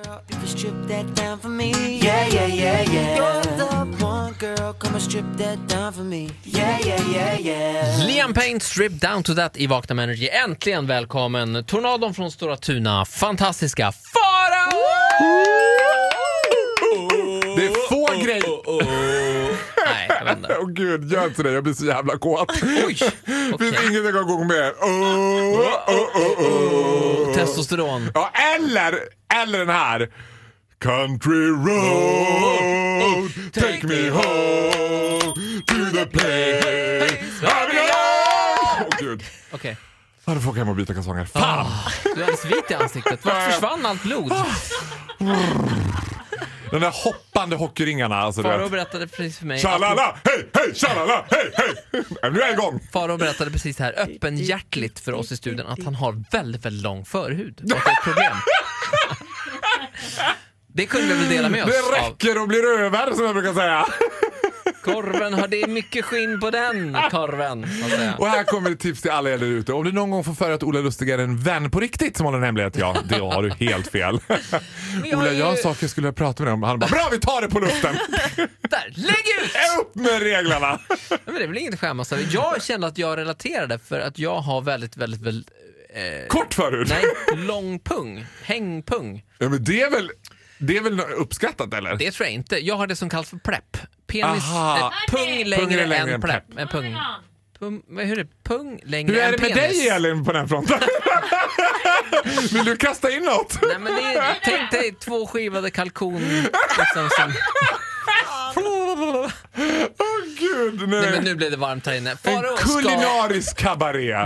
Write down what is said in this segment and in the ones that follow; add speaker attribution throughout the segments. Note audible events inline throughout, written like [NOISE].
Speaker 1: girl, you can strip that down for me. Yeah, yeah, yeah, yeah. You're the one girl, come and strip that down for me. Yeah, yeah, yeah, yeah.
Speaker 2: Liam Payne, Strip Down To That i Vakna med Energy. Äntligen välkommen! Tornadon från Stora Tuna, fantastiska Farao!
Speaker 3: Det är få grejer.
Speaker 2: Nej, jag vet inte.
Speaker 3: Åh gud, gör inte det. Jag blir så jävla kåt.
Speaker 2: Oj!
Speaker 3: Finns
Speaker 2: Okej.
Speaker 3: inget jag kan gå med. Åh, åh, åh, åh.
Speaker 2: Testosteron.
Speaker 3: Ja, eller, eller den här. Country road, take me home to the place I belong. Åh gud.
Speaker 2: Okej.
Speaker 3: Ja, du får jag åka hem och byta kalsonger. Fan!
Speaker 2: Du är alldeles vit i ansiktet. Vart försvann allt blod?
Speaker 3: De där hoppande hockeyringarna. Alltså, du
Speaker 2: Farao
Speaker 3: vet.
Speaker 2: berättade precis för mig...
Speaker 3: Tjalala, hej, hej, tjalala, hej, hej. Nej, Nu är jag igång.
Speaker 2: Farao berättade precis här öppenhjärtligt för oss i studion att han har väldigt, väldigt lång förhud. Och att det är ett
Speaker 3: [LAUGHS]
Speaker 2: problem. Det kunde vi väl dela med oss
Speaker 3: Det
Speaker 2: av.
Speaker 3: räcker och blir över som jag brukar säga.
Speaker 2: Korven, har det är mycket skinn på den korven. så att säga.
Speaker 3: Och här kommer ett tips till alla er där ute. Om du någon gång får för dig att Ola Lustig är en vän på riktigt som håller en hemlighet, ja, det har du helt
Speaker 2: [LAUGHS]
Speaker 3: fel.
Speaker 2: har
Speaker 3: Ola,
Speaker 2: ju-
Speaker 3: jag har saker jag skulle vilja prata med dig om. Han bara, bra vi tar det på
Speaker 2: [LAUGHS]
Speaker 3: luften!
Speaker 2: Där, lägg ut!
Speaker 3: Upp med reglerna!
Speaker 2: Nej, Men det är väl inget att skämmas över. Jag kände att jag relaterade för att jag har väldigt, väldigt, väldigt, eh,
Speaker 3: Kort förut.
Speaker 2: nej, lång pung. Hängpung.
Speaker 3: Ja, men det är väl, det är väl uppskattat eller?
Speaker 2: Det tror jag inte. Jag har det som kallas för plepp. Penis,
Speaker 3: Aha.
Speaker 2: eh, pung
Speaker 3: Pung
Speaker 2: längre
Speaker 3: är längre
Speaker 2: än
Speaker 3: än
Speaker 2: plepp.
Speaker 3: plepp.
Speaker 2: Eh, pung. Pum, vad- hur är det? Pung längre
Speaker 3: Hur är
Speaker 2: än
Speaker 3: det med
Speaker 2: penis.
Speaker 3: dig Elin på den
Speaker 2: [LAUGHS]
Speaker 3: här fronten? Vill du kasta in något?
Speaker 2: Nej, men det är, tänk dig två skivade kalkon. Liksom,
Speaker 3: [LAUGHS]
Speaker 2: som,
Speaker 3: Åh gud, nej.
Speaker 2: nej, men nu blev det varmt här inne. Faro
Speaker 3: En
Speaker 2: ska... [LAUGHS]
Speaker 3: kulinarisk kabaré.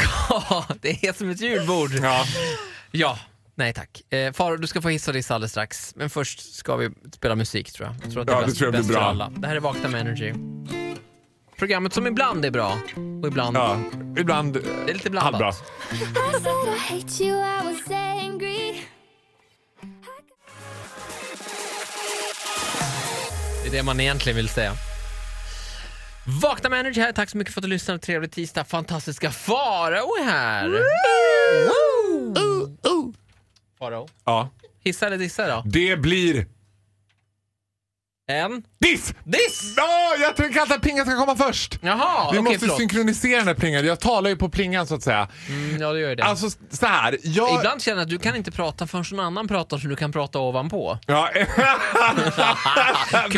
Speaker 2: det är som ett julbord.
Speaker 3: Ja.
Speaker 2: Ja, nej tack. Eh, Faro, du ska få hissa och dissa alldeles strax. Men först ska vi spela musik tror jag. jag tror att det
Speaker 3: Ja,
Speaker 2: är
Speaker 3: det
Speaker 2: bäst,
Speaker 3: tror jag blir
Speaker 2: bäst
Speaker 3: bra.
Speaker 2: för alla. Det här är Vakna med Energy. Programmet som ibland är bra och ibland...
Speaker 3: ja, ibland
Speaker 2: Det är lite blandat.
Speaker 3: halvbra.
Speaker 4: I said I hate you, I was angry.
Speaker 2: Det är det man egentligen vill säga. Vakna med Energy här. Tack så mycket för att du lyssnade. Trevlig tisdag. Fantastiska Farao här. Woo! Farao,
Speaker 3: Ja.
Speaker 2: hissa eller dissa då?
Speaker 3: Det blir
Speaker 2: En.
Speaker 3: diss!
Speaker 2: Diss!
Speaker 3: Ja, jag tänker alltid att plingan ska komma först.
Speaker 2: Jaha,
Speaker 3: Vi
Speaker 2: okej
Speaker 3: måste
Speaker 2: förlåt.
Speaker 3: synkronisera den här plingan. Jag talar ju på plingan så att säga.
Speaker 2: Mm, ja, du gör det.
Speaker 3: Alltså så här. Jag...
Speaker 2: Ibland känner jag att du kan inte prata förrän någon annan pratar så du kan prata ovanpå.
Speaker 3: Ja.
Speaker 2: Kul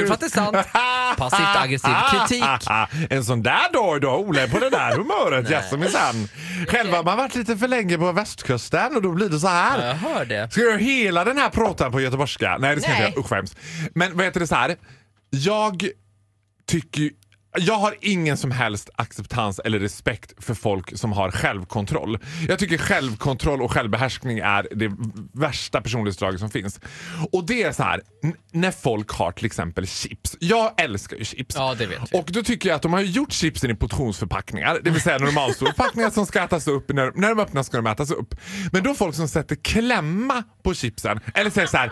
Speaker 2: för att det är sant.
Speaker 3: [LAUGHS]
Speaker 2: Passivt aggressiv kritik.
Speaker 3: En sån där dag idag, Ola är på det där humöret. Jaså minsann. Själva har man varit lite för länge på västkusten och då blir det så
Speaker 2: Ja, Jag
Speaker 3: här.
Speaker 2: hör det.
Speaker 3: Ska jag göra hela den här pratan på göteborgska? Nej det ska jag
Speaker 2: Nej.
Speaker 3: inte göra. Usch vad hemskt. Men vad heter det så här. Jag tycker ju- jag har ingen som helst acceptans eller respekt för folk som har självkontroll. Jag tycker självkontroll och självbehärskning är det värsta personlighetsdraget som finns. Och det är så här, n- när folk har till exempel chips. Jag älskar ju chips.
Speaker 2: Ja, det vet vi.
Speaker 3: Och då tycker jag att de har ju gjort chipsen i portionsförpackningar, det vill säga normalstora förpackningar som ska ätas upp. När, när de öppnas ska de ätas upp. Men då folk som sätter klämma på chipsen, eller säger så här.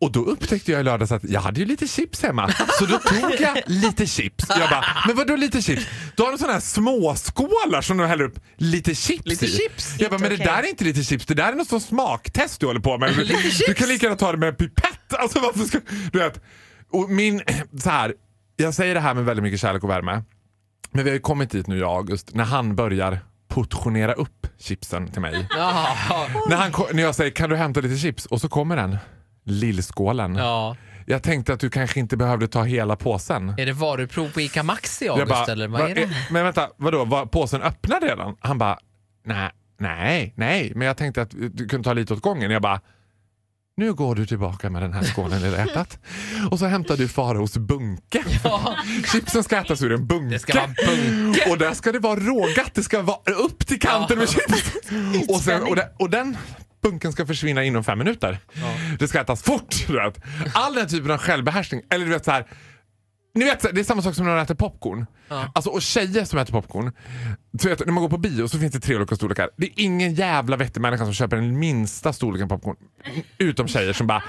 Speaker 3: Och då upptäckte jag i lördags att jag hade ju lite chips hemma. Så då tog jag lite chips. Jag bara, men vadå lite chips? Då har de sådana här småskålar som de häller upp lite chips
Speaker 2: Lite
Speaker 3: i.
Speaker 2: chips?
Speaker 3: Jag bara, men det där är inte lite chips. Det där är något sånt smaktest du håller på med.
Speaker 2: [LAUGHS] Lite
Speaker 3: Du
Speaker 2: chips?
Speaker 3: kan lika gärna ta det med en pipett. Alltså varför ska... Du vet. Och min... [CLEARS THROAT] Så här. Jag säger det här med väldigt mycket kärlek och värme. Men vi har ju kommit dit nu jag och August, när han börjar portionera upp chipsen till mig.
Speaker 2: Ja,
Speaker 3: när, han, ko- när jag säger kan du hämta lite chips? Och så kommer den. Lillskålen.
Speaker 2: ja.
Speaker 3: Jag tänkte att du kanske inte behövde ta hela påsen.
Speaker 2: Är det varuprov på ICA Maxi
Speaker 3: Jag
Speaker 2: August eller vad
Speaker 3: "Va-
Speaker 2: är det?
Speaker 3: eh, Men vänta, vadå? Var påsen öppnad redan? Han bara, nej, nej, nej. Men jag tänkte att du kunde ta lite åt gången. Jag bara, nu går du tillbaka med den här skålen i rätat. Och så hämtar du Faraos bunke. Chipsen ska ätas ur en bunke.
Speaker 2: Det ska vara bunke.
Speaker 3: Och där ska det vara rågat. Det ska vara upp till kanten med chips. Och, sen, och, den, och den bunken ska försvinna inom fem minuter. Det ska ätas fort. Du vet. All den typen av självbehärskning. Eller du vet så här. Ni vet, så här, det är samma sak som när man äter popcorn. Alltså, och tjejer som äter popcorn. Så vet, du, när man går på bio så finns det tre olika storlekar. Det är ingen jävla vettig människa som köper den minsta storleken popcorn. Utom tjejer som bara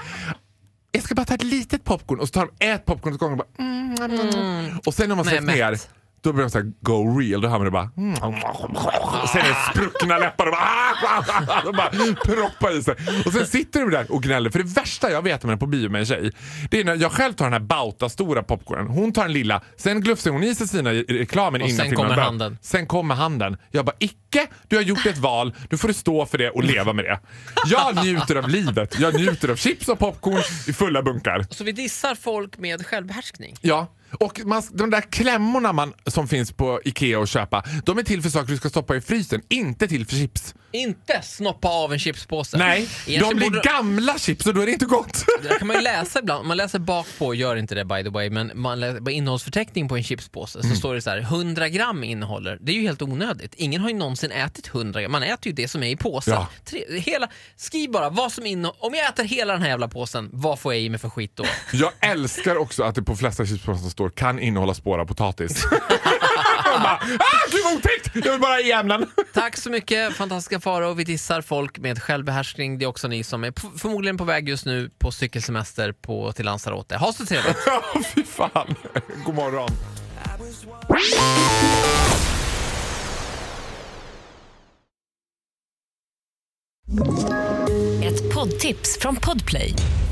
Speaker 3: jag ska bara ta ett litet popcorn och så tar de ett popcorn åt gången. Och, bara, mm, mm, mm. och sen när man
Speaker 2: Nej,
Speaker 3: släppt ner
Speaker 2: mätt.
Speaker 3: då börjar de så här go real. Då hör man det bara... Mm, och sen är det spruckna läppar och bara, ah, ah, ah, de bara proppar i sig. Och sen sitter du där och gnäller. För det värsta jag vet om man är på bio med en tjej det är när jag själv tar den här bauta-stora popcornen. Hon tar den lilla. Sen glufsar hon i sig sina i- i reklamen
Speaker 2: Och
Speaker 3: innan
Speaker 2: sen
Speaker 3: filmen
Speaker 2: kommer
Speaker 3: börjar.
Speaker 2: handen.
Speaker 3: Sen kommer handen. Jag bara, icke! Du har gjort ett val. Du får du stå för det och leva med det. Jag njuter av livet. Jag njuter av chips och popcorn i fulla bunkar.
Speaker 2: Så Alltså, vi dissar folk med självbehärskning.
Speaker 3: Ja. Och man, de där klämmorna man, som finns på Ikea och köpa, de är till för saker du ska stoppa i frysen, inte till för chips.
Speaker 2: Inte snoppa av en chipspåse.
Speaker 3: Nej, de
Speaker 2: Egentligen
Speaker 3: blir
Speaker 2: borde-
Speaker 3: gamla chips och då är det inte gott.
Speaker 2: Det där kan man ju läsa ibland. Man läser bak på, gör inte det by the way, men man läser på innehållsförteckning på en chipspåse så
Speaker 3: Mm.
Speaker 2: står det så här 100 gram innehåller. Det är ju helt onödigt. Ingen har ju någonsin ätit 100 gram. Man äter ju det som är i påsen.
Speaker 3: Ja.
Speaker 2: Tre, hela, skriv bara vad som innehåller. Om jag äter hela den här jävla påsen, vad får jag i mig för skit då?
Speaker 3: [LAUGHS] Jag älskar också att det på flesta chipspåsar står kan innehålla spår av [LAUGHS] potatis. Jag bara, ah, gud vad otäckt! Jag vill bara i ämnen. [LAUGHS]
Speaker 2: Tack så mycket fantastiska Faro. Vi dissar folk med självbehärskning. Det är också ni som är p- förmodligen på väg just nu på cykelsemester på, till Lanzarote. Ha så trevligt!
Speaker 3: Ja, fy fan. God morgon.
Speaker 5: Ett poddtips från Podplay.